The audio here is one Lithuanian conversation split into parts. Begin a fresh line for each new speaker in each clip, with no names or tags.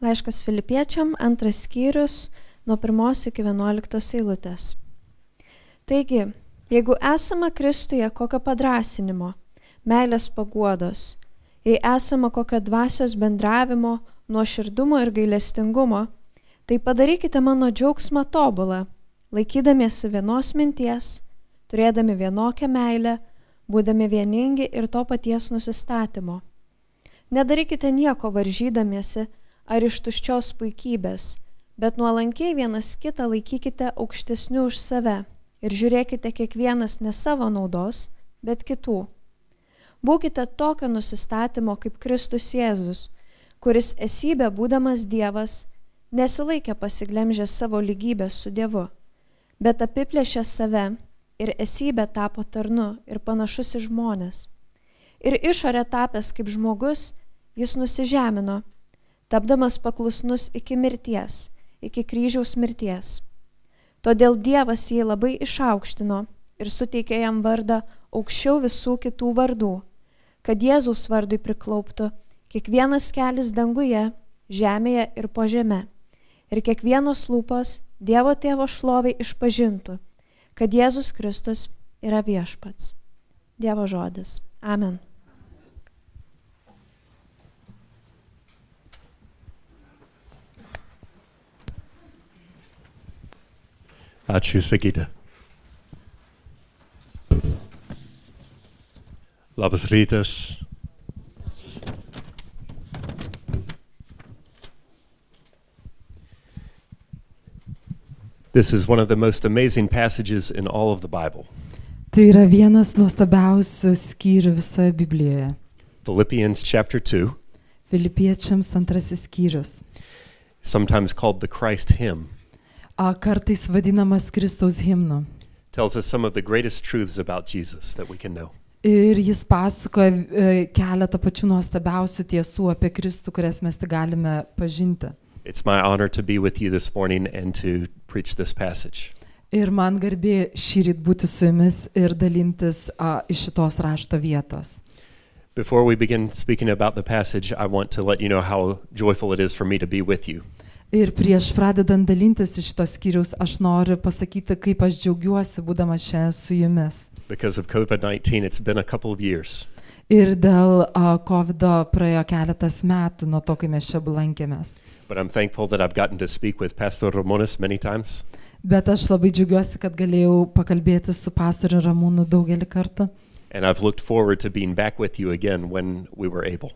Laiškas Filipiečiam, antras skyrius, nuo pirmos iki vienuoliktos eilutės. Taigi, jeigu esama Kristuje kokio padrasinimo, meilės paguodos, jei esama kokio dvasios bendravimo, nuoširdumo ir gailestingumo, tai padarykite mano džiaugsmą tobulą, laikydamiesi vienos minties, turėdami vienokią meilę, būdami vieningi ir to paties nusistatymo. Nedarykite nieko varžydamiesi, ar iš tuščios puikybės, bet nuolankiai vienas kitą laikykite aukštesniu už save ir žiūrėkite kiekvienas ne savo naudos, bet kitų. Būkite tokio nusistatymo kaip Kristus Jėzus, kuris esybė būdamas Dievas nesilaikė pasiglemžę savo lygybės su Dievu, bet apiplėšė save ir esybė tapo tarnu ir panašus į žmonės. Ir išorė tapęs kaip žmogus, jis nusižemino tapdamas paklusnus iki mirties, iki kryžiaus mirties. Todėl Dievas jį labai išaukštino ir suteikė jam vardą aukščiau visų kitų vardų, kad Jėzaus vardui priklauptų kiekvienas kelias danguje, žemėje ir po žemę, ir kiekvienos lūpos Dievo tėvo šloviai išpažintų, kad Jėzus Kristus yra viešpats. Dievo žodis. Amen.
Ačiū, sakyti. Labas rytas. This is one of the most amazing passages in all of the Bible.
Tai yra vienas nuostabiausių skyrių visoje Biblijoje.
Philippians chapter 2,
Filipiečiams antrasis skyrius.
sometimes called the Christ hymn,
A, Kartais vadinamas Kristaus himnu.
tells us some of the greatest truths about Jesus that we can know.
Ir jis pasakoja e, keletą pačių nuostabiausių tiesų apie Kristų, kurias mes tik galime pažinti.
It's my honor to be with you this morning and to preach this passage.
Ir man garbė šį rytą būti su jumis ir dalintis a, iš šitos rašto vietos.
Before we begin speaking about the passage, I want to let you know how joyful it is for me to be with you.
Ir prieš pradedant dalintis iš šitos skyrius, aš noriu pasakyti, kaip aš džiaugiuosi, būdama čia su jumis.
Because of COVID 19, it's been a couple of years.
Ir dėl a, COVID-o praėjo keletas metų nuo to, kai mes čia blankėmės.
But I'm thankful that I've gotten to speak with Pastor Ramones many times.
Bet aš labai džiugiuosi, kad galėjau pakalbėti su pastoriu Ramūnu daugelį kartų.
And I've looked forward to being back with you again when we were able.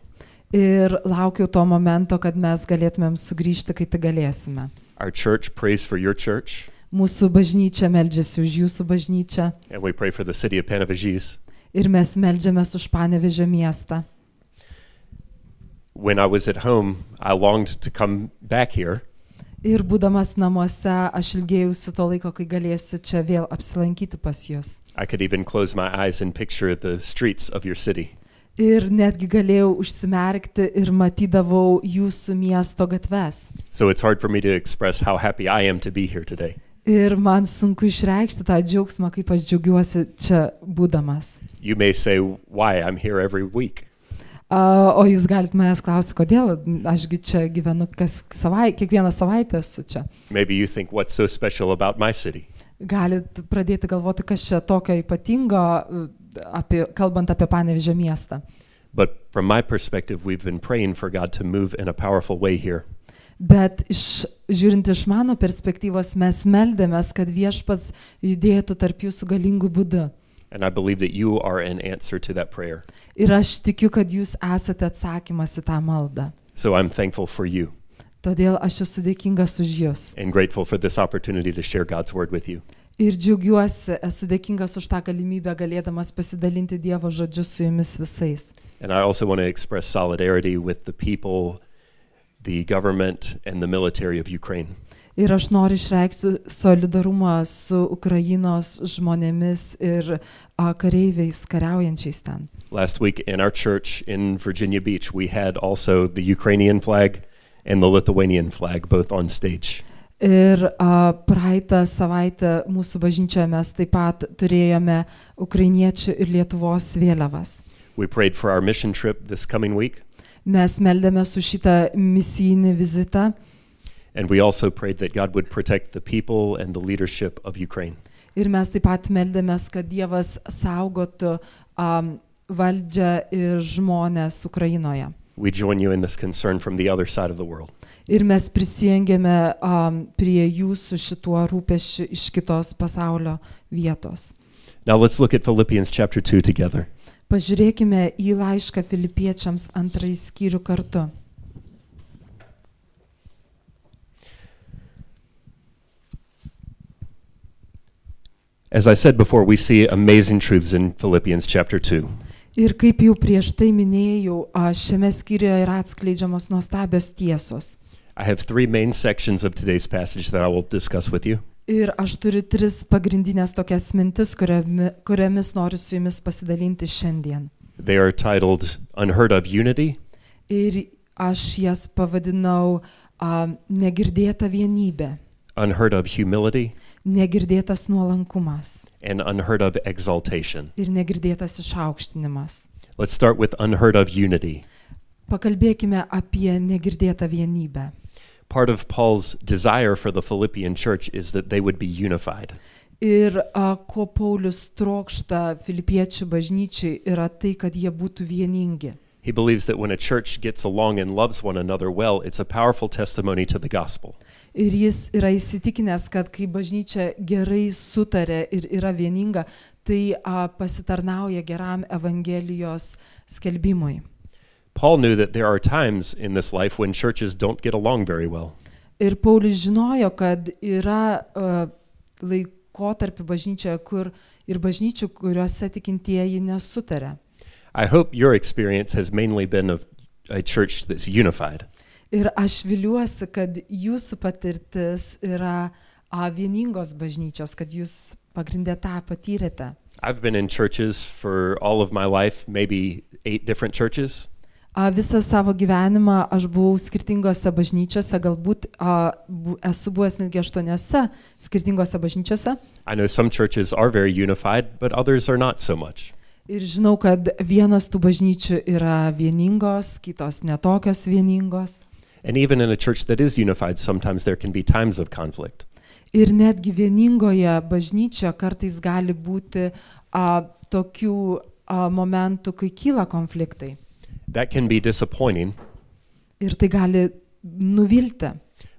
Ir laukiu to momento, kad mes galėtumėm sugrįžti, kai tik galėsime.
Our church prays for your church,
Mūsų bažnyčia meldžiasi už jūsų bažnyčią
and we pray for the city of Panavagis.
ir mes meldžiamės už Panevežio miestą.
When I was at home, I longed to come back here,
Ir būdamas namuose, aš ilgėjausi to laiko, kai galėsiu čia vėl apsilankyti pas jūs.
I could even close my eyes and picture the streets of your city.
Ir netgi galėjau užsimerkti ir matydavau jūsų miesto gatves.
So it's hard for me to express how happy I am to be here today.
Ir man sunku išreikšti tą džiaugsmą, kaip aš džiaugiuosi čia būdamas.
You may say why I'm here every week.
A, O jūs galite manęs klausti, kodėl ašgi čia gyvenu kas savai, kiekvieną savaitę esu čia.
Maybe you think what's so special about my city?
Galit pradėti galvoti, kas čia tokio ypatingo, apie, kalbant apie Panevežio miestą.
But from my perspective, we've been praying for God to move in a powerful way here.
Bet iš, žiūrint iš mano perspektyvos, mes meldėmės, kad viešpats judėtų tarp jūsų galingų būdų.
And I believe that you are an answer to that prayer.
Ir aš tikiu, kad jūs esate atsakymas į tą maldą.
So I'm thankful for you
Todėl aš esu dėkingas už jūs.
and grateful for this opportunity to share God's word with you.
Ir džiaugiuosi, esu dėkingas už tą galimybę galėdamas pasidalinti Dievo žodžiu su jumis visais.
And I also want to express solidarity with the people, the government, and the military of Ukraine.
Ir aš noriu išreikšti solidarumą su Ukrainos žmonėmis ir a, kareiviais kariaujančiais ten.
Last week in our church in Virginia Beach, we had also the Ukrainian flag and the Lithuanian flag both on stage.
Ir a, praeitą savaitę mūsų bažnyčioje mes taip pat turėjome ukrainiečių ir Lietuvos vėliavas.
We prayed for our mission trip this coming week,
Mes meldėme su šitą misijinį vizitą
And we also prayed that God would protect the people and the leadership of Ukraine.
ir mes taip pat meldėmės, kad Dievas saugotų um, valdžią ir žmonės Ukrainoje.
We join you in this concern from the other side of the world.
Ir mes prisijungėme um, prie jūsų šituo rūpešiu iš kitos pasaulio vietos.
Now let's look at Philippians chapter 2 together.
Pažiūrėkime į laišką filipiečiams antrąjį skyrių kartu.
As I said before, we see amazing truths in Philippians chapter 2.
Ir kaip jau prieš tai minėjau, a, šiame skyriuje yra atskleidžiamos nuostabios tiesos.
I have three main sections of today's passage that I will discuss with you.
Ir aš turiu tris pagrindinės tokias mintis, kuriami- kuriamis noriu su jumis pasidalinti šiandien.
They are titled Unheard of Unity,
Ir aš jas pavadinau a, negirdėta vienybė,
Unheard of Humility,
negirdėtas nuolankumas
and Unheard of Exaltation.
ir negirdėtas išaukštinimas.
Let's start with Unheard of Unity.
Pakalbėkime apie negirdėtą vienybę.
Part of Paul's desire for the Philippian church is that they would be unified.
Ir a, ko Paulius trokšta filipiečių bažnyčiai yra tai, kad jie būtų vieningi.
He believes that when a church gets along and loves one another well, it's a powerful testimony to the gospel.
Ir jis yra įsitikinęs, kad kai bažnyčia gerai sutarė ir yra vieninga, tai a, pasitarnauja geram Evangelijos skelbimui.
Paul knew that there are times in this life when churches don't get along very well.
Ir Paulius žinojo, kad yra a, laikotarpių bažnyčioje, kur ir bažnyčių, kuriuose tikintieji nesutarė.
I hope your experience has mainly been of a church that's unified.
Ir aš viliuosi, kad jūsų patirtis yra a, vieningos bažnyčios, kad jūs pagrindę tą patyrėte.
I've been in churches for all of my life, maybe eight different churches.
A, visą savo gyvenimą aš buvau skirtingose bažnyčiose, galbūt a, bu, esu buvęs netgi aštuoniuose skirtingose bažnyčiose.
I know some churches are very unified, but others are not so much.
Ir žinau, kad vienos tų bažnyčių yra vieningos, kitos netokios vieningos.
And even in a church that is unified, sometimes there can be times of conflict.
Ir netgi vieningoje bažnyčioje kartais gali būti a, tokių a, momentų, kai kyla konfliktai.
That can be disappointing,
Ir tai gali nuvilti.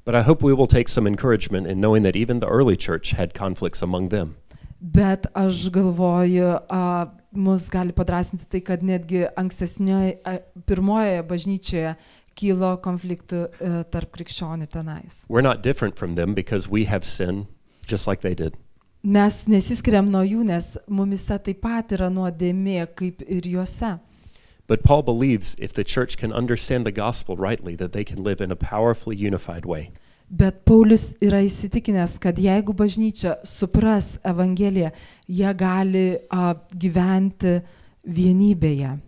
but I hope we will take some encouragement in knowing that even the early church had conflicts among them.
Bet aš galvoju, a, mus gali padrasinti tai, kad netgi ankstesnioje, a, pirmojoje bažnyčioje kilo konfliktų a, tarp krikščionių tenais.
We're not different from them because we have sin just like they did.
Mes nesiskiriam nuo jų, nes mumise taip pat yra nuodėmė kaip ir juose.
But Paul believes if the church can understand the gospel rightly, that they can live in a powerfully unified way.
Bet Paulius yra įsitikinęs, kad jeigu bažnyčia supras Evangeliją, jie gali a, gyventi vienybėje.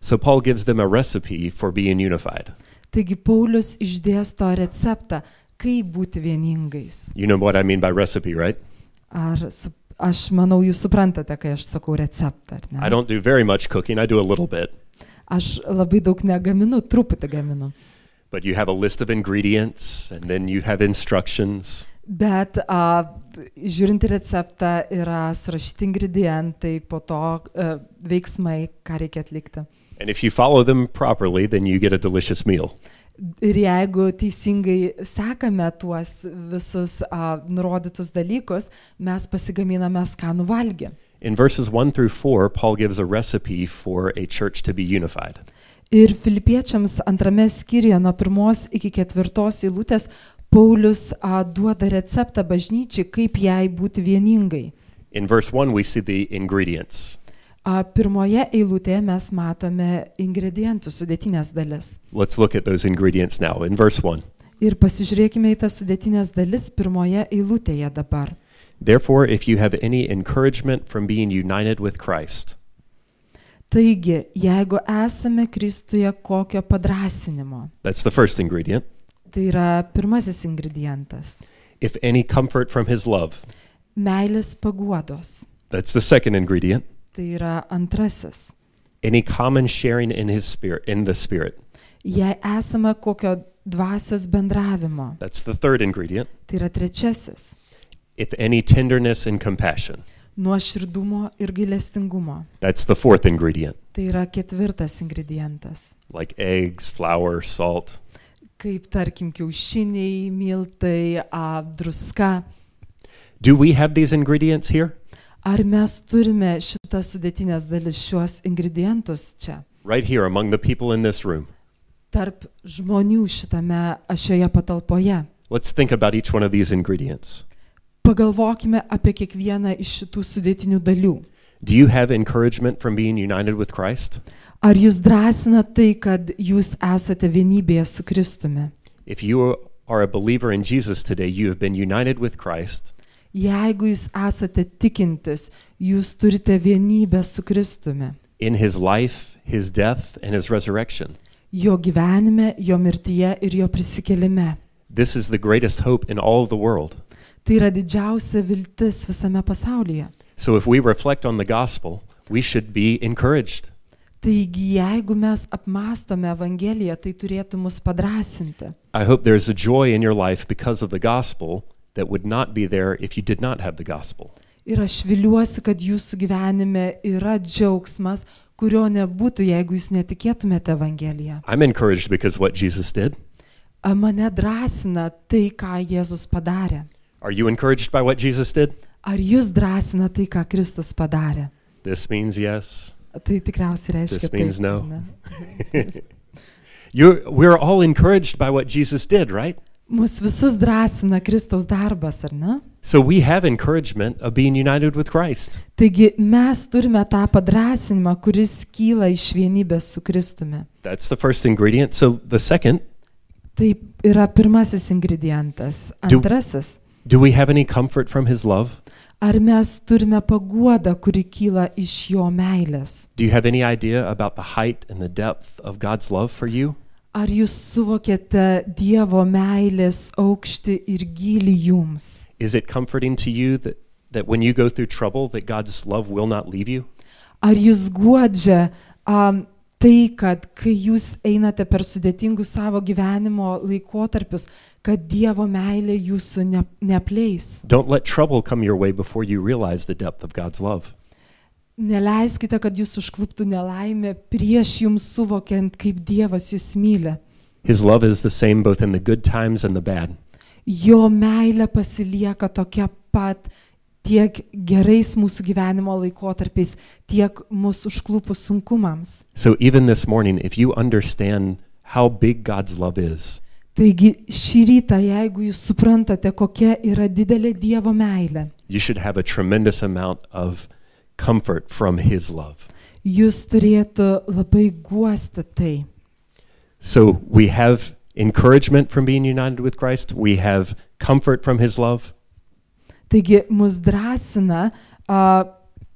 So Paul gives them a recipe for being unified.
Taigi Paulius išdėsto receptą, kaip būti vieningais.
You know what I mean by recipe, right?
Ar su, aš manau, jūs suprantate, kai aš sakau receptą, ar
I
ne?
don't do very much cooking, I do a little bit.
Aš labai daug negaminu, truputį gaminu.
But you have a list of ingredients and then you have instructions.
Bet a, žiūrint į receptą yra surašyti ingredientai, po to a, veiksmai, ką reikia atlikti.
And if you follow them properly, then you get a delicious meal.
Ir jeigu teisingai sekame tuos visus a, nurodytus dalykus, mes pasigaminame skanų valgį.
In verses 1 through 4, Paul gives a recipe for a church to be unified.
Ir filipiečiams antrame skyriuje nuo pirmos iki ketvirtos eilutės Paulius a, duoda receptą bažnyčiai, kaip jai būti vieningai.
In verse 1, we see the ingredients.
A, pirmoje eilutėje mes matome ingredientų sudėtinės dalis.
Let's look at those ingredients now. In verse 1,
Ir pasižiūrėkime į tas sudėtinės dalis pirmoje eilutėje dabar.
therefore, if you have any encouragement from being united with Christ,
Taigi, jeigu esame Kristuje kokio padrasinimo,
that's the first ingredient.
tai yra pirmasis ingredientas
If any comfort from his love,
- meilės paguodos,
that's the second ingredient.
tai yra antrasis.
Any common sharing in his spirit, in the spirit,
jei esame kokio dvasios bendravimo.
That's the third ingredient.
Tai yra trečiasis
If any tenderness and compassion.
- nuoširdumo ir gailestingumo.
That's the fourth ingredient.
Tai yra ketvirtas ingredientas.
Like eggs, flour, salt.
Kaip tarkim kiaušiniai, miltai, a, druska.
Do we have these ingredients here?
Ar mes turime šitas sudėtinės dalis, šiuos ingredientus čia?
Right here among the people in this room.
Tarp žmonių šitame a, šioje patalpoje.
Let's think about each one of these ingredients.
Pagalvokime apie kiekvieną iš šitų sudėtinių dalių.
Do you have encouragement from being united with Christ?
Ar jūs drąsina tai, kad jūs esate vienybėje su Kristumi?
If you are a believer in Jesus today, you have been united with Christ.
Jeigu jūs esate tikintis, jūs turite vienybę su Kristumi.
in his life, his death, and his resurrection.
Jo gyvenime, jo mirtyje ir jo prisikelime.
This is the greatest hope in all of the world.
Tai yra didžiausia viltis visame pasaulyje.
So if we reflect on the gospel, we should be encouraged.
Taigi, jeigu mes apmastome Evangeliją, tai turėtų mus padrasinti.
I hope there's a joy in your life because of the gospel that would not be there if you did not have the gospel.
Ir aš viliuosi, kad jūsų gyvenime yra džiaugsmas, kurio nebūtų, jeigu jūs netikėtumėte Evangeliją.
I'm encouraged because what Jesus did.
A, Mane drąsina tai, ką Jėzus padarė.
Are you encouraged by what Jesus did?
Ar jūs drąsina tai, ką Kristus padarė?
This means yes.
Tai tikriausiai reiškia.
This means
taip, ar
no.
ne?
You're, we're all encouraged by what Jesus did, right?
Mus visus drąsina Kristaus darbas, ar ne?
So we have encouragement of being united with Christ.
Taigi mes turime tą padrasinimą, kuris kyla iš vienybės su Kristumi.
That's the first ingredient. So the second
Tai yra pirmasis ingredientas.
Du-
Antrasis.
Do we have any comfort from his love?
Ar mes turime paguodą, kuri kyla iš jo meilės?
Do you have any idea about the height and the depth of God's love for you?
Ar jūs suvokėte Dievo meilės aukštį ir gilį jums?
Is it comforting to you that, that when you go through trouble that God's love will not leave you?
Ar jūs guodžia um, tai, kad kai jūs einate per sudėtingus savo gyvenimo laikotarpius, kad Dievo meilė jūsų ne, neapleis?
Don't let trouble come your way before you realize the depth of God's love.
Neleiskite, kad jūs užkluptų nelaimė prieš jums suvokiant, kaip Dievas jūs myli.
His love is the same both in the good times and the bad.
Jo meilė pasilieka tokia pat tiek gerais mūsų gyvenimo laikotarpiais, tiek mūsų užklupus sunkumams.
So even this morning, if you understand how big God's love is,
Taigi šį rytą, jeigu jūs suprantate, kokia yra didelė Dievo meilė,
you should have a tremendous amount of comfort from his love.
jūs turėtų labai guosti tai.
So we have encouragement from being united with Christ. We have comfort from his love.
Taigi mus drąsina a,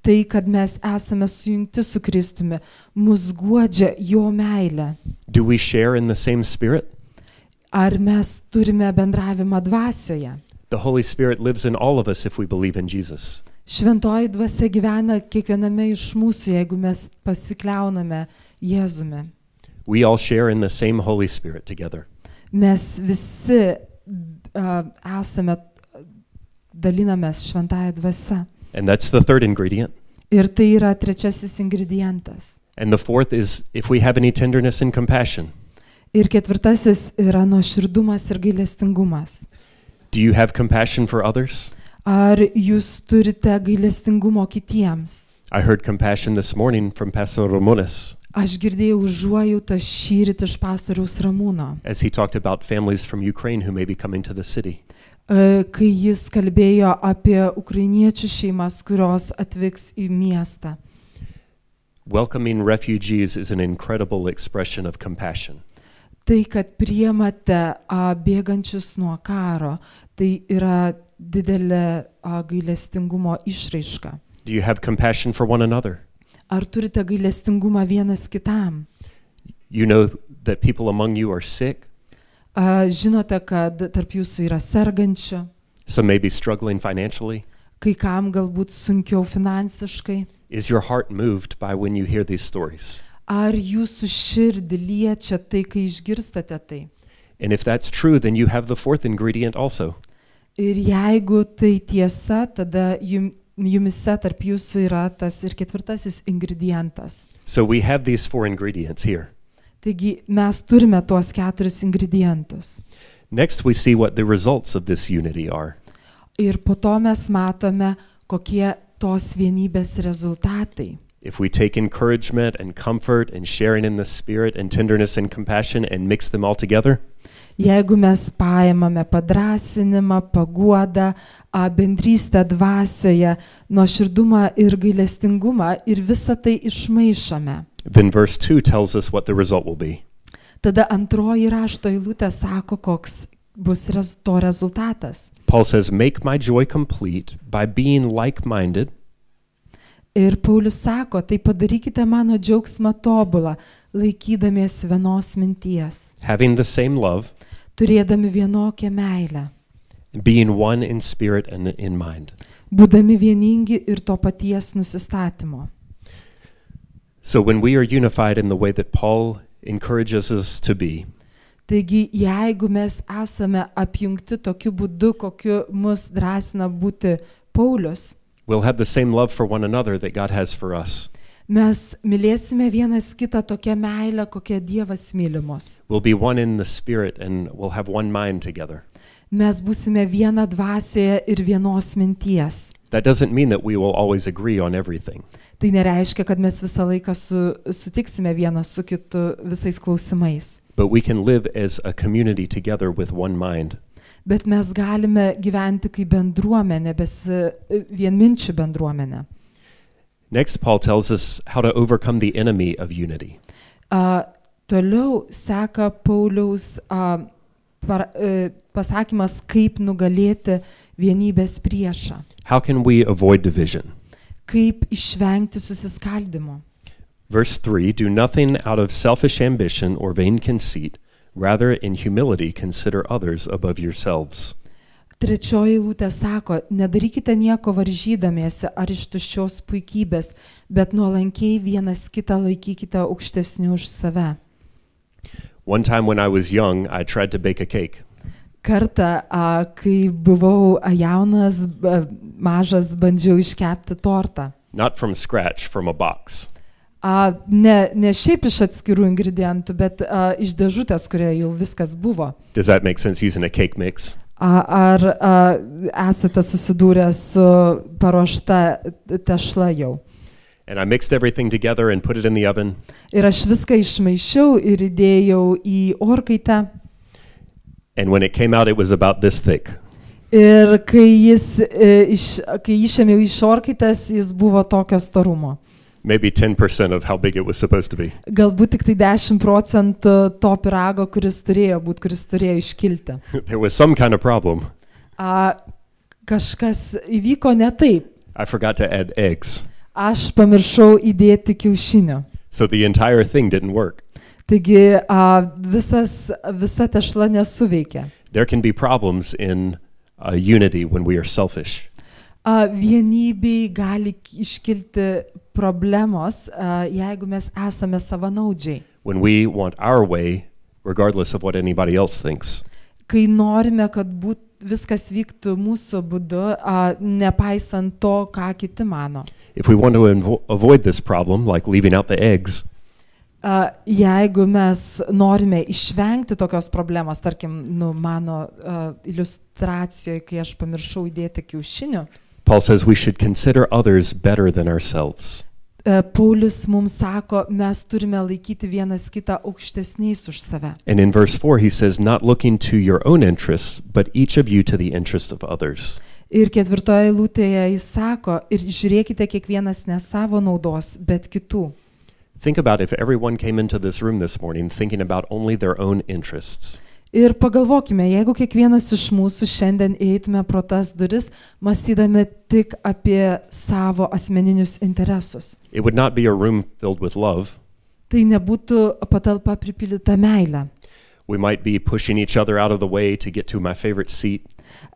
tai, kad mes esame sujungti su Kristumi, mus guodžia jo meilė.
Do we share in the same spirit?
Ar mes turime bendravimą dvasioje?
The Holy Spirit lives in all of us if we believe in Jesus.
Šventoji dvasia gyvena kiekviename iš mūsų, jeigu mes pasikliauname Jėzumi.
We all share in the same Holy Spirit together.
Mes visi uh, esame, dalinamės šventąją dvasę.
And that's the third ingredient.
Ir tai yra trečiasis ingredientas.
And the fourth is if we have any tenderness and compassion.
Ir ketvirtasis yra nuoširdumas ir gailestingumas.
Do you have compassion for others?
Ar jūs turite gailestingumo kitiems?
I heard compassion this morning from Pastor Ramones
Aš girdėjau užuojautą šyrit iš pastoriaus Ramūno,
as he talked about families from Ukraine who may be coming to the city.
e, kai jis kalbėjo apie ukrainiečių šeimas, kurios atvyks į miestą.
Welcoming refugees is an incredible expression of compassion.
Tai, kad priemate a, bėgančius nuo karo, tai yra didelė a, gailestingumo išraiška.
Do you have compassion for one another?
Ar turite gailestingumą vienas kitam?
You know that people among you are sick,
A, žinote, kad tarp jūsų yra sergančių,
Some may be struggling financially.
kai kam galbūt sunkiau finansiškai.
Is your heart moved by when you hear these stories?
Ar jūsų širdį liečia tai, kai išgirstate tai?
And if that's true, then you have the fourth ingredient also.
Ir jeigu tai tiesa, tada jum, jumise tarp jūsų yra tas ir ketvirtasis ingredientas.
So we have these four ingredients here.
Taigi mes turime tuos keturis ingredientus.
Next, we see what the results of this unity are.
Ir po to mes matome, kokie tos vienybės rezultatai.
If we take encouragement and comfort and sharing in the Spirit and tenderness and compassion and mix them all together,
Jeigu mes paimame padrasinimą, paguodą, a, bendrystę dvasioje, nuoširdumą ir gailestingumą ir visą tai išmaišome,
then verse 2 tells us what the result will be.
tada antroji rašto eilutė sako, koks bus rez, to rezultatas.
Paul says, Make my joy complete by being like minded,
Ir Paulius sako, tai padarykite mano džiaugsmą tobulą, laikydamiesi vienos minties,
having the same love,
turėdami vienokią meilę,
being one in spirit and in mind.
būdami vieningi ir to paties nusistatymo.
So when we are unified in the way that Paul encourages us to be,
Taigi, jeigu mes esame apjungti tokiu būdu, kokiu mus drąsina būti Paulius,
we'll have the same love for one another that God has for us.
mes mylėsime vienas kitą tokią meilę, kokią Dievas mylimus.
We'll be one in the spirit and we'll have one mind together.
Mes būsime viena dvasioje ir vienos minties.
That doesn't mean that we will always agree on everything,
Tai nereiškia, kad mes visą laiką su, sutiksime vienas su kitu visais klausimais,
but we can live as a community together with one mind.
bet mes galime gyventi kaip bendruomenė, besi, vienminčių bendruomenė.
Next, Paul tells us how to overcome the enemy of unity.
A, toliau seka Pauliaus a, par, a, pasakymas, kaip nugalėti vienybės priešą,
How can we avoid division?
kaip išvengti susiskaldimo.
Verse 3 Do nothing out of selfish ambition or vain conceit, rather, in humility, consider others above yourselves.
Trečioji lūtė sako, nedarykite nieko varžydamiesi ar iš tuščios puikybės, bet nuolankiai vienas kitą laikykite aukštesniu už save.
One time when I was young, I tried to bake a cake.
Kartą, a, kai buvau a, jaunas, b- mažas, bandžiau iškepti tortą.
Not from scratch, from a box.
A, ne, ne šiaip iš atskirų ingredientų, bet a, iš dėžutės, kurioje jau viskas buvo.
Does that make sense using a cake mix?
A, ar a, esate susidūrę su paruošta tešla jau?
And I mixed everything together and put it in the oven.
Ir aš viską išmaišiau ir įdėjau į orkaitę.
And when it came out, it was about this thick.
Ir kai, jis, e, iš, kai išėmiau iš orkaitės, jis buvo tokio storumo.
Maybe 10% of how big it was supposed to be.
Galbūt tik tai 10 procentų to pirago, kuris turėjo būti, kuris turėjo iškilti.
there was some kind of problem.
A, kažkas įvyko ne taip.
I forgot to add eggs.
Aš pamiršau įdėti kiaušinių.
So the entire thing didn't work.
Taigi a, visas, visa tešla nesuveikė.
There can be problems in uh, unity when we are selfish.
A, vienybei gali k- iškilti problemos, a, jeigu mes esame savanaudžiai.
When we want our way, regardless of what anybody else thinks.
Kai norime, kad būt, viskas vyktų mūsų būdu, a, nepaisant to, ką kiti mano.
If we want to invo- avoid this problem, like leaving out the eggs,
A, jeigu mes norime išvengti tokios problemos, tarkim, nu, mano a, iliustracijoje, kai aš pamiršau įdėti kiaušinių,
Paul says we should consider others better than ourselves.
a, e, Paulius mums sako, mes turime laikyti vienas kitą aukštesniais už save.
And in verse 4, he says, Not looking to your own interests, but each of you to the interests of others.
Ir ketvirtoje lūtėje jis sako, ir žiūrėkite kiekvienas ne savo naudos, bet kitų.
Think about if everyone came into this room this morning thinking about only their own interests.
Ir pagalvokime, jeigu kiekvienas iš mūsų šiandien eitume pro tas duris, mąstydami tik apie savo asmeninius interesus,
It would not be a room filled with love.
tai nebūtų patalpa pripildyta meilė.
We might be pushing each other out of the way to get to my favorite seat.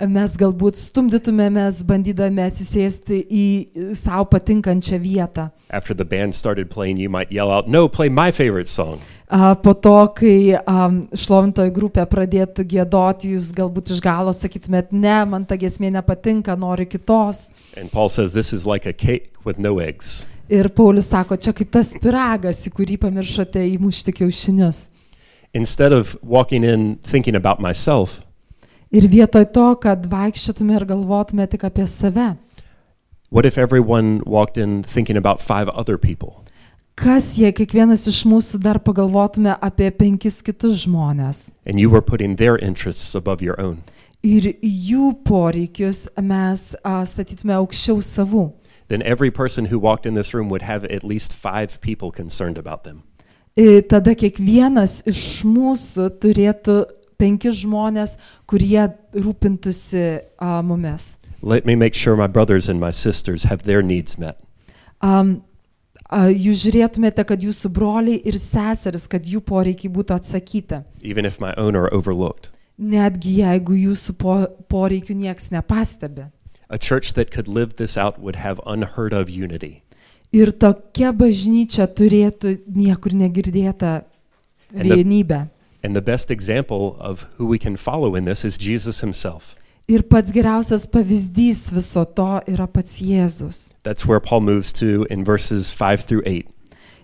mes galbūt stumdytumėmės, bandydami atsisėsti į savo patinkančią vietą.
After the band started playing, you might yell out, No, play my favorite song.
A, Po to, kai am, šlovintoji grupė pradėtų gėdoti, jūs galbūt iš galo sakytumėt, ne, man ta giesmė nepatinka, noriu kitos.
And Paul says, This is like a cake with no eggs.
Ir Paulius sako, čia kaip tas piragas, į kurį pamiršote įmušti kiaušinius.
Instead of walking in thinking about myself,
Ir vietoj to, kad vaikščiotume ir galvotume tik apie save,
what if everyone walked in thinking about five other people?
kas jei kiekvienas iš mūsų dar pagalvotume apie penkis kitus žmonės
And you were putting their interests above your own.
ir jų poreikius mes a, statytume aukščiau savų.
Then every person who walked in this room would have at least five people concerned about them.
I, tada kiekvienas iš mūsų turėtų penki žmonės, kurie rūpintųsi a, mumis.
Let me make sure my brothers and my sisters have their needs met.
Um, a, jūs žiūrėtumėte, kad jūsų broliai ir seseris, kad jų poreikiai būtų atsakyti.
even if my own are overlooked.
Netgi jeigu jūsų po, poreikių niekas nepastebi.
A church that could live this out would have unheard of unity.
Ir tokia bažnyčia turėtų niekur negirdėtą
And the-
vienybę.
And the best example of who we can follow in this is Jesus himself.
Ir pats geriausias pavyzdys viso to yra pats Jėzus.
That's where Paul moves to in verses 5 through 8.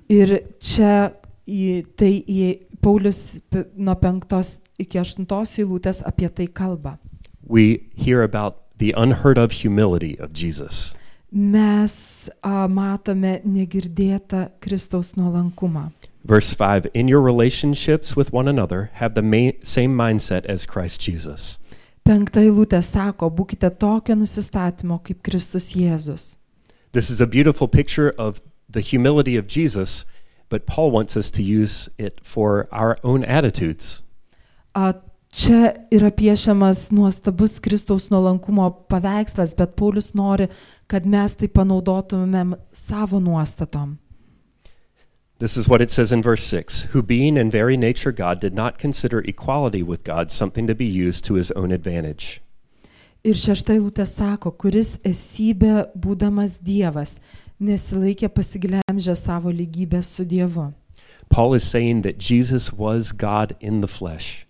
Ir čia į, tai į Paulius p- nuo penktos iki aštuntos eilutės apie tai kalba.
We hear about the unheard of humility of Jesus.
Mes a, matome negirdėtą Kristaus nuolankumą.
Verse 5 In your relationships with one another, have the ma- same mindset as Christ Jesus.
Penkta eilutė sako, būkite tokio nusistatymo kaip Kristus Jėzus.
This is a beautiful picture of the humility of Jesus, but Paul wants us to use it for our own attitudes.
A, čia yra piešiamas nuostabus Kristaus nuolankumo paveikslas, bet Paulius nori, kad mes tai panaudotumėm savo nuostatom.
This is what it says in verse 6 Who being in very nature God did not consider equality with God something to be used to his own advantage.
Ir šešta eilutė sako, kuris esybė būdamas Dievas nesilaikė pasiglemžę savo lygybę su Dievu.
Paul is saying that Jesus was God in the flesh.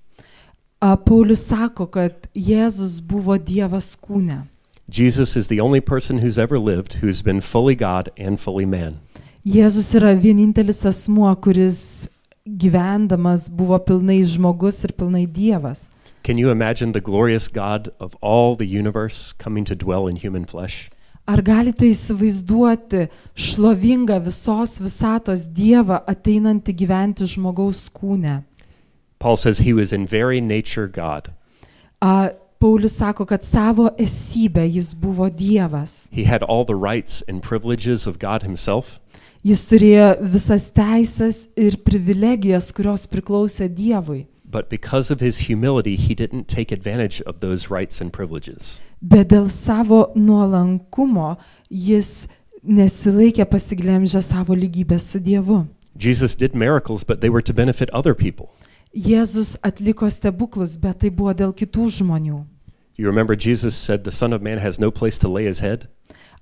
A, Paulius sako, kad Jėzus buvo Dievas kūne.
Jesus is the only person who's ever lived who's been fully God and fully man.
Jėzus yra vienintelis asmuo, kuris gyvendamas buvo pilnai žmogus ir pilnai Dievas.
Can you imagine the glorious God of all the universe coming to dwell in human flesh?
Ar galite įsivaizduoti šlovingą visos visatos Dievą ateinantį gyventi žmogaus kūne?
Paul says he was in very nature God.
A, Paulius sako, kad savo esybę jis buvo Dievas.
He had all the rights and privileges of God himself,
Jis turėjo visas teisės ir privilegijas, kurios priklausė Dievui.
but because of his humility, he didn't take advantage of those rights and privileges.
Bet dėl savo nuolankumo jis nesilaikė pasiglemžę savo lygybę su Dievu.
Jesus did miracles, but they were to benefit other people.
Jėzus atliko stebuklus, bet tai buvo dėl kitų žmonių.
You remember Jesus said, The Son of Man has no place to lay his head?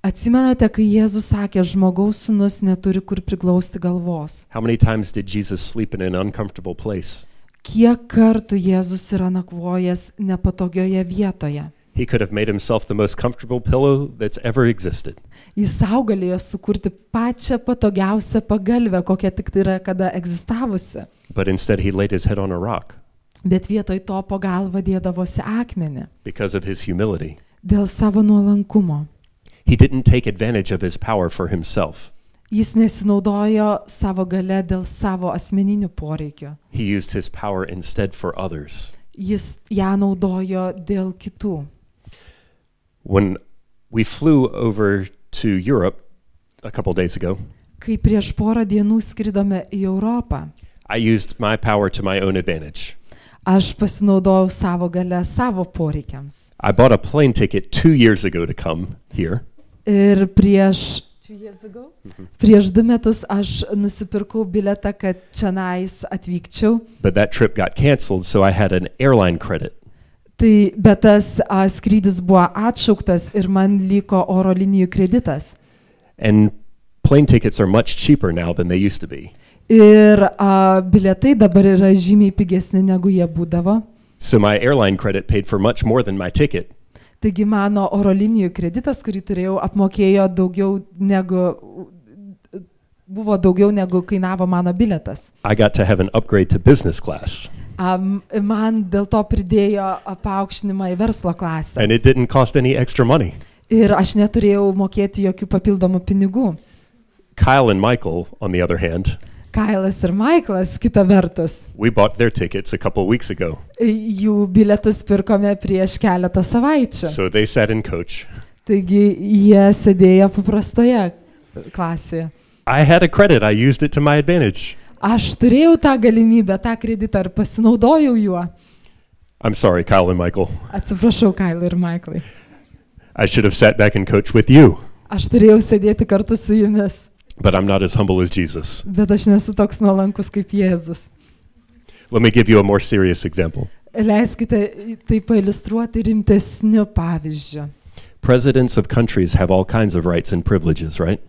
Atsimenate, kai Jėzus sakė, žmogaus sūnus neturi kur priglausti galvos.
How many times did Jesus sleep in an uncomfortable place?
Kiek kartų Jėzus yra nakvojęs nepatogioje vietoje?
He could have made himself the most comfortable pillow that's ever existed.
Jis sau galėjo sukurti pačią patogiausią pagalbę, kokia tik tai yra kada egzistavusi,
But instead, he laid his head on a rock
bet vietoj to po galvą dėdavosi akmenį
because of his humility.
dėl savo nuolankumo.
He didn't take advantage of his power for himself,
Jis nesinaudojo savo gale dėl savo asmeninių poreikių.
he used his power instead for others.
Jis ją naudojo dėl kitų.
When we flew over to Europe a couple days ago,
Kai prieš porą dienų skridome į Europą,
I used my power to my own advantage.
aš pasinaudojau savo galę savo poreikiams.
I bought a plane ticket two years ago to come here,
Ir prieš, prieš du metus aš nusipirkau biletą, kad čia nais atvykčiau,
but that trip got canceled, so I had an airline credit.
Tai, bet tas a, skrydis buvo atšauktas ir man liko oro linijų kreditas.
And plane tickets are much cheaper now than they used to be.
Ir a, bilietai dabar yra žymiai pigesni negu jie būdavo.
So my airline credit paid for much more than my ticket.
Taigi mano oro linijų kreditas, kurį turėjau, apmokėjo daugiau negu, buvo daugiau negu kainavo mano bilietas.
I got to have an upgrade to business class,
Um, man dėl to pridėjo apaukštinimą į verslo klasę.
and it didn't cost any extra money.
Ir aš neturėjau mokėti jokių papildomų pinigų.
Kyle and Michael, on the other hand,
Kailas ir Maiklas, kita vertus,
we bought their tickets a couple weeks ago.
jų bilietus pirkome prieš keletą savaičių.
So they sat in coach.
Taigi jie sėdėjo paprastoje klasėje.
I had a credit, I used it to my advantage.
Aš turėjau tą galimybę, tą kreditą ir pasinaudojau juo.
I'm sorry, Kyle and Michael.
Atsiprašau, Kailai ir Maiklai.
I should have sat back in coach with you,
Aš turėjau sėdėti kartu su jumis,
but I'm not as humble as Jesus.
bet aš nesu toks nuolankus kaip Jėzus.
Let me give you a more serious example.
Leiskite tai pailustruoti rimtesniu pavyzdžiu.
Presidents of countries have all kinds of rights and privileges, right?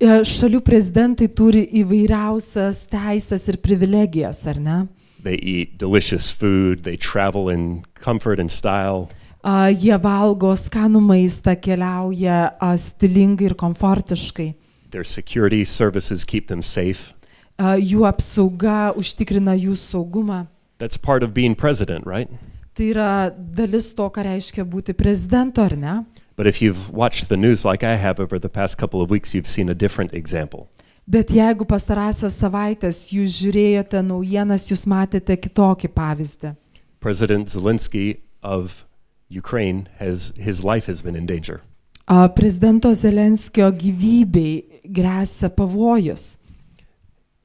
E, Šalių prezidentai turi įvairiausias teisės ir privilegijas, ar ne?
They eat delicious food, they travel in comfort and style,
A, Jie valgo skanų maistą, keliauja a, stilingai ir komfortiškai.
their security services keep them safe.
A, Jų apsauga užtikrina jų saugumą.
That's part of being president, right?
Tai yra dalis to, ką reiškia būti prezidentu, ar ne?
But if you've watched the news like I have over the past couple of weeks, you've seen a different example.
Bet jeigu pastarąsias savaitės jūs žiūrėjote naujienas, jūs matėte kitokį pavyzdį.
President Zelensky of Ukraine has his life has been in danger.
A, Prezidento Zelenskio gyvybei grėsia pavojus.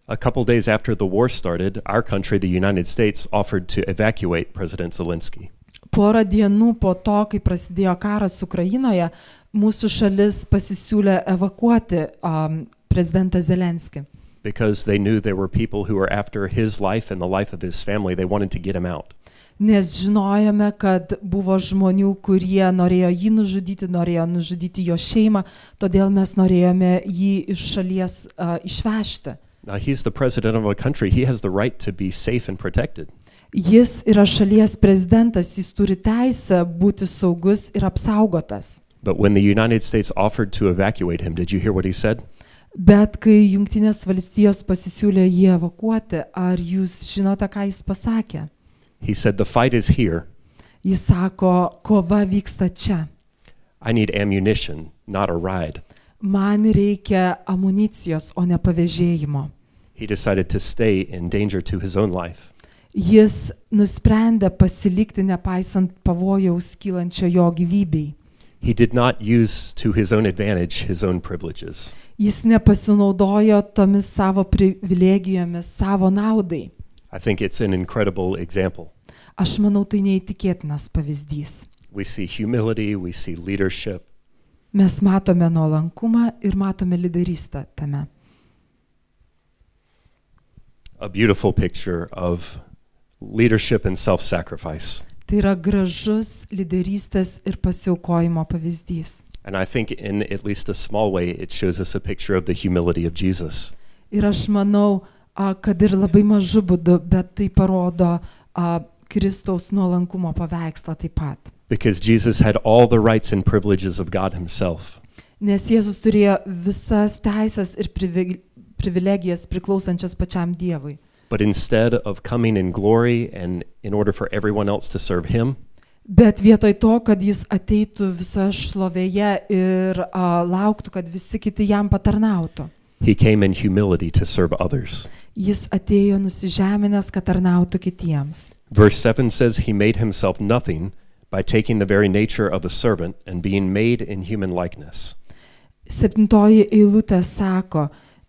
A couple days after the war started, our country, the United States, offered to evacuate President Zelensky.
Porą dienų po to, kai prasidėjo karas Ukrainoje, mūsų šalis pasisiūlė evakuoti um, prezidentą Zelenskį.
because they knew there were people who were after his life and the life of his family. They wanted to get him out.
Nes žinojome, kad buvo žmonių, kurie norėjo jį nužudyti, norėjo nužudyti jo šeimą, todėl mes norėjome jį iš šalies uh, išvežti.
Now, he's the president of a country. He has the right to be safe and protected.
Jis yra šalies prezidentas, jis turi teisę būti saugus ir apsaugotas.
But when the United States offered to evacuate him, did you hear what he said?
Bet kai Junktinės valstijos pasisiūlė jį evakuoti, ar jūs žinote, ką jis pasakė?
He said, The fight is here.
Jis sako, kova vyksta čia.
I need ammunition, not a ride.
Man reikia amunicijos, o ne pavėžėjimo.
He decided to stay in danger to his own life.
Jis nusprendė pasilikti nepaisant pavojaus kylančio jo gyvybei.
He did not use to his own advantage his own privileges.
Jis nepasinaudojo tomis savo privilegijomis savo naudai.
I think it's an incredible example.
Aš manau, tai neįtikėtinas pavyzdys.
We see humility, we see leadership,
Mes matome nuolankumą ir matome lyderystę tame.
a beautiful picture of leadership and self sacrifice.
Tai yra gražus lyderystės ir pasiaukojimo pavyzdys.
And I think, in at least a small way, it shows us a picture of the humility of Jesus.
Ir aš manau, a, kad ir labai mažu būdu, bet tai parodo a, Kristaus nuolankumo paveikslą taip pat.
Because Jesus had all the rights and privileges of God Himself.
Nes Jėzus turėjo visas teisės ir privi- privilegijas priklausančias pačiam Dievui.
But instead of coming in glory and in order for everyone else to serve Him,
Bet vietoj to, kad jis ateitų visoje šlovėje ir a, lauktų, kad visi kiti jam patarnautų,
He came in humility to serve others.
jis atėjo nusižeminęs, kad tarnautų kitiems.
Verse 7 says, He made Himself nothing by taking the very nature of a servant and being made in human likeness.
Septintoji eilutė sako,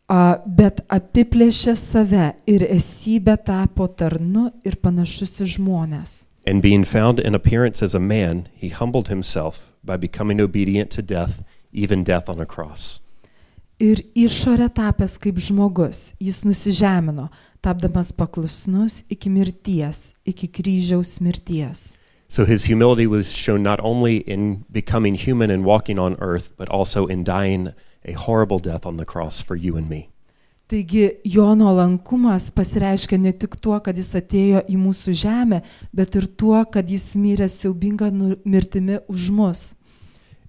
a, bet apiplėšė save ir esybė tapo tarnu ir panašus į žmonės.
And being found in appearance as a man, he humbled himself by becoming obedient to death, even death on a cross.
Ir išorė tapęs kaip žmogus, jis nusižemino, tapdamas paklusnus iki mirties, iki kryžiaus mirties.
So his humility was shown not only in becoming human and walking on earth, but also in dying a horrible death on the cross for you and me.
Taigi Jono lankumas pasireiškia ne tik tuo, kad jis atėjo į mūsų žemę, bet ir tuo, kad jis mirė siaubingą nu- mirtimi už mus.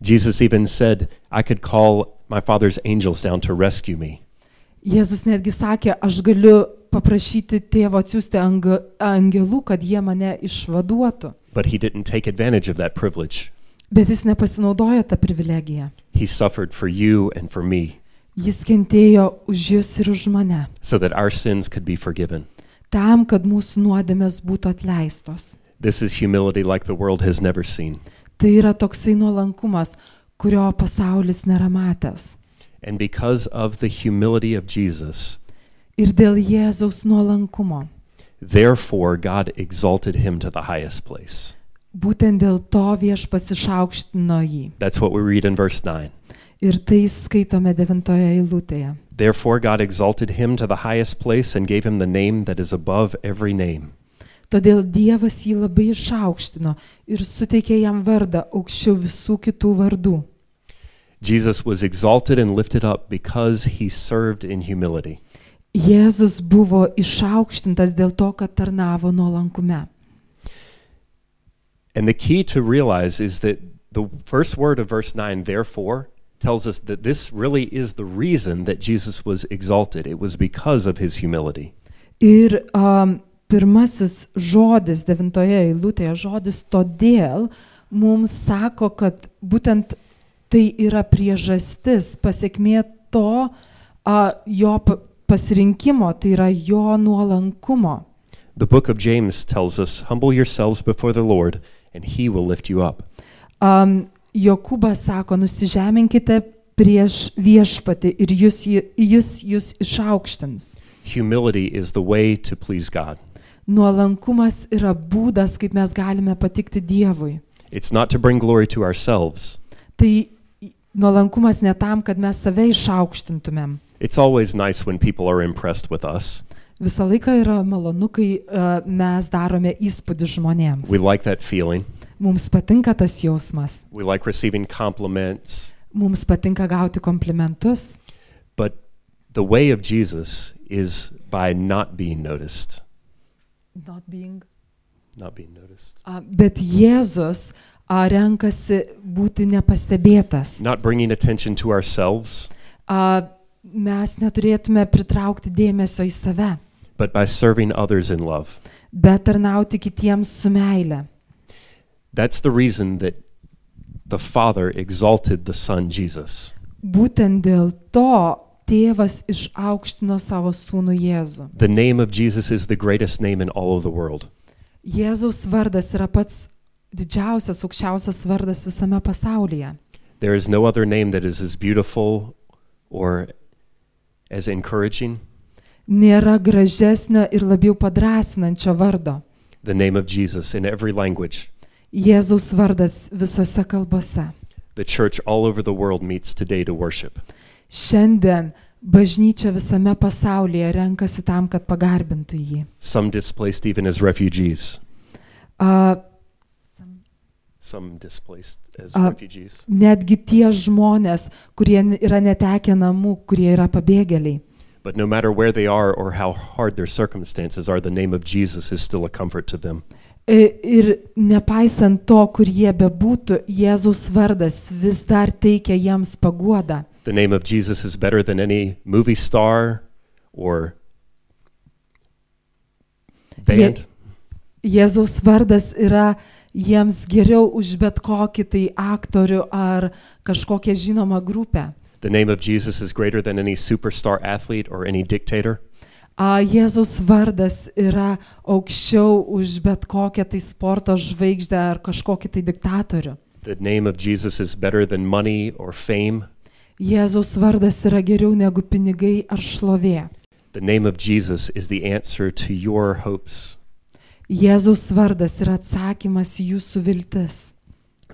Jesus even said, I could call my father's angels down to rescue me.
Jėzus netgi sakė, aš galiu paprašyti tėvo atsiųsti anga- angelų, kad jie mane išvaduotų.
But he didn't take advantage of that privilege.
Bet jis nepasinaudojo tą privilegiją.
He suffered for you and for me
Jis kentėjo už jūs ir už mane,
so that our sins could be forgiven.
tam, kad mūsų nuodėmės būtų atleistos.
This is humility like the world has never seen.
Tai yra toksai nuolankumas, kurio pasaulis nėra matęs.
And because of the humility of Jesus,
Ir dėl Jėzaus nuolankumo.
therefore God exalted him to the highest place.
Būtent dėl to viešpas išaukštino jį.
That's what we read in verse 9.
Ir tai skaitome devintoje eilutėje.
Therefore, God exalted him to the highest place and gave him the name that is above every name,
Todėl Dievas jį labai išaukštino ir suteikė jam vardą aukščiau visų kitų vardų.
Jesus was exalted and lifted up because he served in humility.
Jėzus buvo išaukštintas dėl to, kad tarnavo nuolankume.
And the key to realize is that the first word of verse 9, therefore, tells us that this really is the reason that Jesus was exalted. It was because of his humility.
Ir um, pirmasis žodis devintoje eilutėje, žodis todėl, mums sako, kad būtent tai yra priežastis, pasiekmė to uh, jo pa- pasirinkimo, tai yra jo nuolankumo.
The book of James tells us, Humble yourselves before the Lord, and he will lift you up.
Um, Jokūbas sako, nusižeminkite prieš viešpatį ir jis jūs, jūs išaukštins.
Humility is the way to please God.
Nuolankumas yra būdas, kaip mes galime patikti Dievui.
It's not to bring glory to ourselves,
Tai i- nuolankumas ne tam, kad mes save išaukštintumėm.
It's always nice when people are impressed with us.
Visą laiką yra malonu, kai uh, mes darome įspūdį žmonėms.
We like that feeling.
Mums patinka tas jausmas,
We like receiving compliments.
mums patinka gauti komplimentus,
But the way of Jesus is by not being noticed.
Not being
Not being noticed.
A, Bet Jėzus a, renkasi būti nepastebėtas.
Not bringing attention to ourselves,
A, Mes neturėtume pritraukti dėmesio į save,
but by serving others in love.
bet tarnauti kitiems su meile.
That's the reason that the Father exalted the Son, Jesus.
Būtent dėl to tėvas išaukštino savo sūnų Jėzų.
The name of Jesus is the greatest name in all of the world.
Jėzaus vardas yra pats didžiausias, aukščiausias vardas visame pasaulyje.
There is no other name that is as beautiful or as encouraging
Nėra gražesnio ir labiau padrasinančio vardo.
the name of Jesus in every language.
Jėzaus vardas visose kalbose.
The church all over the world meets today to worship.
Šiandien bažnyčia visame pasaulyje renkasi tam, kad pagarbintų jį.
Some displaced even as refugees.
A,
Some displaced as
Uh,
refugees.
netgi tie žmonės, kurie n- yra netekę namų, kurie yra pabėgėliai.
But no matter where they are or how hard their circumstances are, the name of Jesus is still a comfort to them.
I- E, Ir nepaisant to, kur jie bebūtų, Jėzaus vardas vis dar teikia jiems paguodą.
The name of Jesus is better than any movie star or band.
Jėzaus vardas yra jiems geriau už bet kokį tai aktorių ar kažkokią žinomą grupę.
The name of Jesus is greater than any superstar athlete or any dictator.
A, Jėzaus vardas yra aukščiau už bet kokią tai sporto žvaigždę ar kažkokį tai diktatorių.
The name of Jesus is better than money or fame.
Jėzaus vardas yra geriau negu pinigai ar šlovė.
The name of Jesus is the answer to your hopes.
Jėzaus vardas yra atsakymas į jūsų viltis.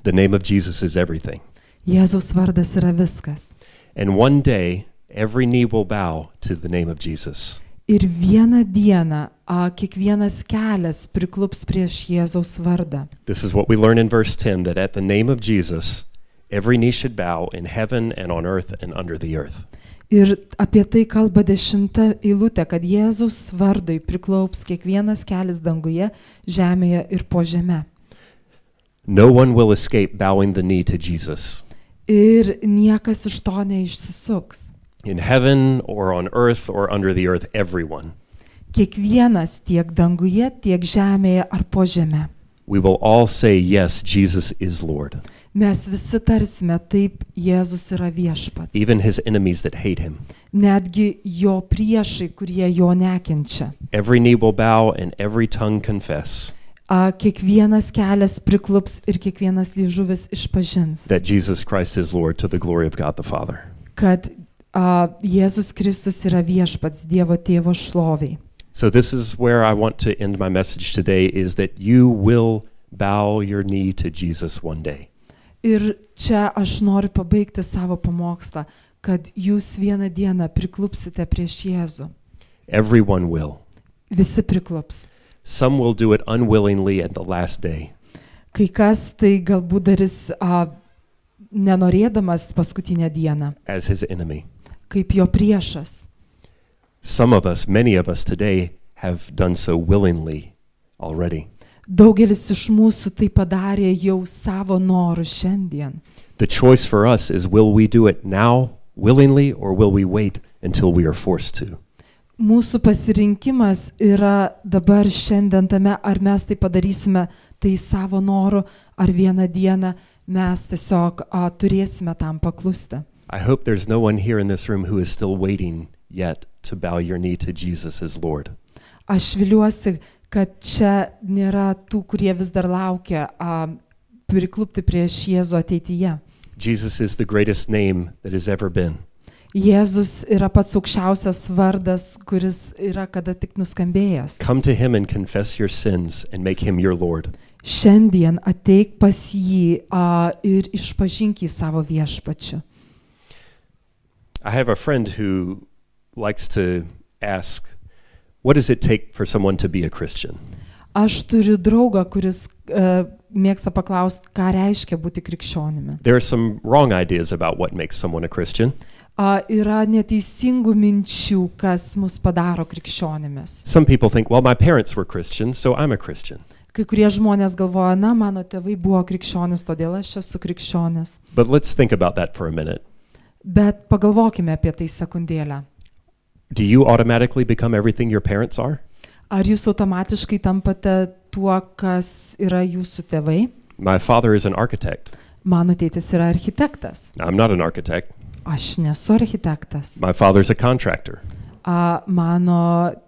The name of Jesus is everything.
Jėzaus vardas yra viskas.
And one day, every knee will bow to the name of Jesus.
Ir vieną dieną a, kiekvienas kelias priklups prieš Jėzaus vardą.
This is what we learn in verse 10 that at the name of Jesus, every knee should bow in heaven and on earth and under the earth.
Ir apie tai kalba dešimta eilutė, kad Jėzaus vardui priklaups kiekvienas kelias danguje, žemėje ir po žemę.
No one will escape bowing the knee to Jesus
Ir niekas iš to neišsisuks.
in heaven or on earth or under the earth, everyone.
Kiekvienas tiek danguje, tiek žemėje ar po žemę.
We will all say, Yes, Jesus is Lord,
Mes visi tarsime taip, Jėzus yra viešpats.
even his enemies that hate him.
Netgi jo priešai, kurie jo nekenčia.
Every knee will bow and every tongue confess
A, kiekvienas kelias priklups ir kiekvienas lyžuvis išpažins,
that Jesus Christ is Lord to the glory of God the Father.
kad a, Jėzus Kristus yra viešpats Dievo tėvo šloviai.
So this is where I want to end my message today is that you will bow your knee to Jesus one day.
Ir čia aš noriu pabaigti savo pamokslą, kad jūs vieną dieną priklupsite prieš Jėzų.
Everyone will.
Visi priklups.
Some will do it unwillingly at the last day.
Kai kas tai galbūt darys a, nenorėdamas paskutinę dieną,
as his enemy.
kaip jo priešas.
Some of us, many of us today, have done so willingly already.
Daugelis iš mūsų tai padarė jau savo norų šiandien.
The choice for us is will we do it now willingly or will we wait until we are forced to?
Mūsų pasirinkimas yra dabar šiandien tame, ar mes tai padarysime tai savo noru, ar vieną dieną mes tiesiog a, turėsime tam paklusti.
I hope there's no one here in this room who is still waiting yet to bow your knee to Jesus as Lord.
Aš viliuosi, kad čia nėra tų, kurie vis dar laukia a, priklupti prieš Jėzų ateityje.
Jesus is the greatest name that has ever been.
Jėzus yra pats aukščiausias vardas, kuris yra kada tik nuskambėjęs.
Come to him and confess your sins and make him your Lord.
Šiandien ateik pas jį a, ir išpažink jį savo viešpačiu.
I have a friend who likes to ask, what does it take for someone to be a Christian?
Aš turiu draugą, kuris e, mėgsta paklausti, ką reiškia būti krikščionimi.
There are some wrong ideas about what makes someone a Christian.
A, yra neteisingų minčių, kas mus padaro krikščionimis.
Some people think, well, my parents were Christians, so I'm a Christian.
Kai kurie žmonės galvoja, na, mano tėvai buvo krikščionis, todėl aš esu krikščionis.
But let's think about that for a minute.
Bet pagalvokime apie tai sekundėlę.
Do you automatically become everything your parents are?
Ar jūs automatiškai tampate tuo, kas yra jūsų tėvai?
My father is an architect.
Mano tėtis yra architektas.
I'm not an architect.
Aš nesu architektas.
My father's a contractor.
A, mano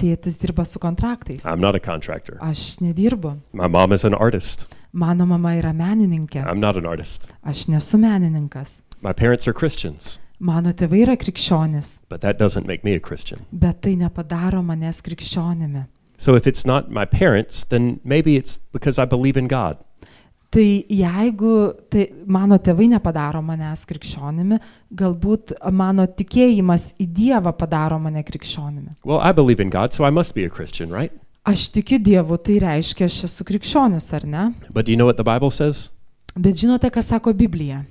tėtis dirba su kontraktais.
I'm not a contractor.
Aš nedirbu.
My mom is an artist.
Mano mama yra menininkė.
I'm not an artist.
Aš nesu menininkas.
My parents are Christians,
Mano tėvai yra krikščionis,
but that doesn't make me a Christian.
bet tai nepadaro manęs krikščionimi.
So if it's not my parents, then maybe it's because I believe in God.
Tai jeigu tai mano tėvai nepadaro manęs krikščionimi, galbūt mano tikėjimas į Dievą padaro mane krikščionimi.
Well, I believe in God, so I must be a Christian, right?
Aš tikiu Dievu, tai reiškia, aš esu krikščionis, ar ne?
But do you know what the Bible says?
Bet žinote, ką sako Biblija?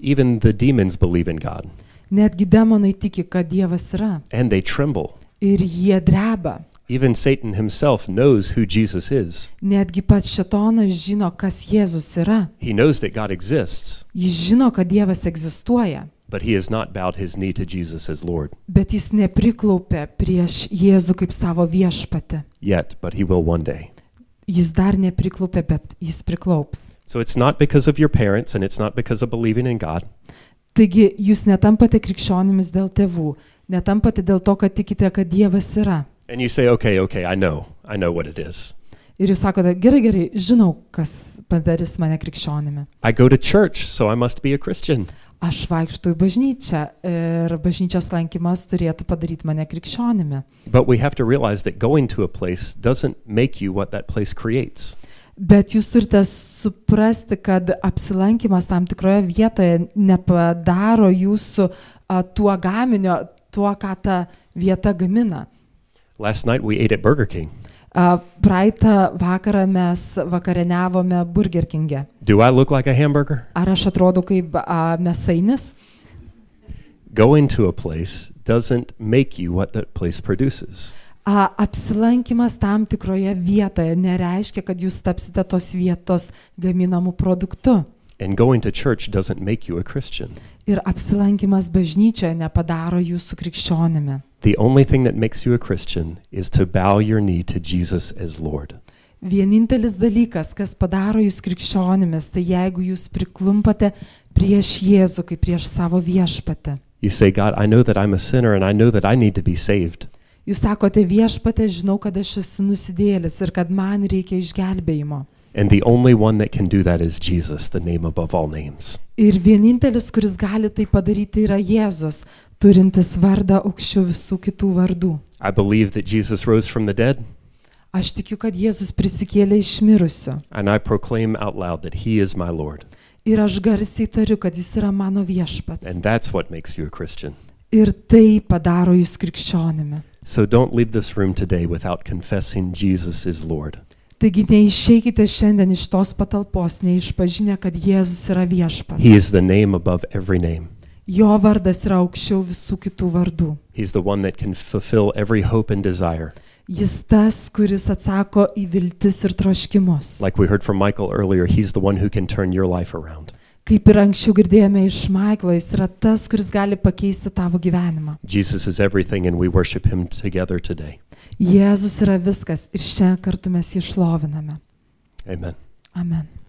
Even the demons believe in God
Netgi demonai tiki, kad Dievas yra.
and they tremble.
Ir jie dreba.
Even Satan himself knows who Jesus is.
Netgi pats Šetonas žino, kas Jėzus yra.
He knows that God exists,
Jis žino, kad Dievas egzistuoja,
but he has not bowed his knee to Jesus as Lord
bet jis nepriklaupė prieš Jėzų kaip savo viešpatį.
yet, but he will one day.
Jis dar nepriklaupė, bet jis priklaups.
So it's not because of your parents and it's not because of believing in God.
Taigi jūs netampate krikščionimis dėl tėvų, netampate dėl to, kad tikite, kad Dievas yra.
And you say, okay, okay, I know. I know what it is.
Ir jūs sakote, gerai, gerai, žinau, kas padarys mane krikščionimi.
I go to church, so I must be a Christian.
Aš vaikštų į bažnyčią ir bažnyčios lankymas turėtų padaryti mane krikščionimi.
But we have to realize that going to a place doesn't make you what that place creates.
Bet jūs turite suprasti, kad apsilankimas tam tikroje vietoje nepadaro jūsų a, tuo gaminio, tuo, ką ta vieta gamina.
Last night we ate at Burger King.
A, Praeitą vakarą mes vakarieniavome Burger King'e.
Do I look like a hamburger?
Ar aš atrodau kaip a, mesainis?
Going to a place doesn't make you what that place produces.
A, apsilankimas tam tikroje vietoje nereiškia, kad jūs tapsite tos vietos gaminamų produktų.
And going to church doesn't make you a Christian.
Ir apsilankimas bažnyčioje nepadaro jūsų krikščionimi.
The only thing that makes you a Christian is to bow your knee to Jesus as Lord.
Vienintelis dalykas, kas padaro jūs krikščionimis, tai jeigu jūs priklumpate prieš Jėzų, kaip prieš savo viešpatę.
You say, God, I know that I'm a sinner and I know that I need to be saved.
Jūs sakote viešpatė, žinau, kad aš esu nusidėlis ir kad man reikia išgelbėjimo.
And the only one that can do that is Jesus, the name above all names.
Ir vienintelis, kuris gali tai padaryti, yra Jėzus, turintis vardą aukščiau visų kitų vardų.
I believe that Jesus rose from the dead,
Aš tikiu, kad Jėzus prisikėlė iš mirusių.
and I proclaim out loud that He is my Lord.
Ir aš garsiai tariu, kad jis yra mano viešpats.
And that's what makes you a Christian.
Ir tai padaro jūs krikščionimi.
So don't leave this room today without confessing Jesus is Lord.
Taigi neišeikite šiandien iš tos patalpos, neišpažinę, kad Jėzus yra viešpats.
He is the name above every name.
Jo vardas yra aukščiau visų kitų vardų.
He's the one that can fulfill every hope and desire.
Jis tas, kuris atsako į viltis ir troškimus.
Like we heard from Michael earlier, He's the one who can turn your life around.
Kaip ir anksčiau girdėjome iš Maiklo, jis yra tas, kuris gali pakeisti tavo gyvenimą.
Jesus is everything, and we worship Him together today.
Jėzus yra viskas ir šiandien kartu mes jį šloviname.
Amen.
Amen.